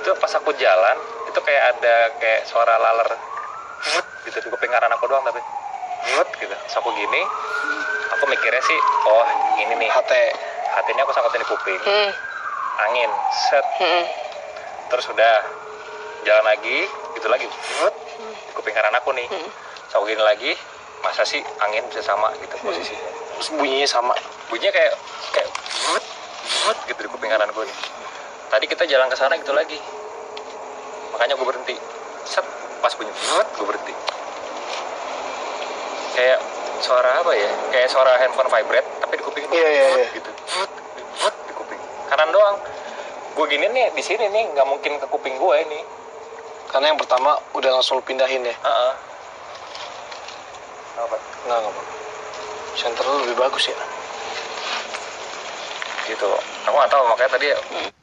itu pas aku jalan itu kayak ada kayak suara laler Vut, gitu di kuping kanan aku doang tapi Vut, gitu so aku gini aku mikirnya sih oh ini nih HT hatinya aku sangkutin di kuping Hmm, angin set hmm, terus udah jalan lagi gitu lagi Vut, di kuping kanan aku nih hmm. so aku gini lagi masa sih angin bisa sama gitu posisinya Hmm. terus bunyinya sama bunyinya kayak kayak vut, vut gitu di kuping kanan gue nih. Tadi kita jalan ke sana gitu lagi. Makanya gue berhenti. Set pas bunyi vut, gue berhenti. Kayak suara apa ya? Kayak suara handphone vibrate tapi di kuping gue Iya, iya, vut iya. gitu. Vut, vut di kuping. Kanan doang. Gue gini nih di sini nih nggak mungkin ke kuping gue ini. karena yang pertama udah langsung lu pindahin ya Heeh. Apa? nggak nggak apa center lu lebih bagus ya Gitu. Aku nggak tahu makanya tadi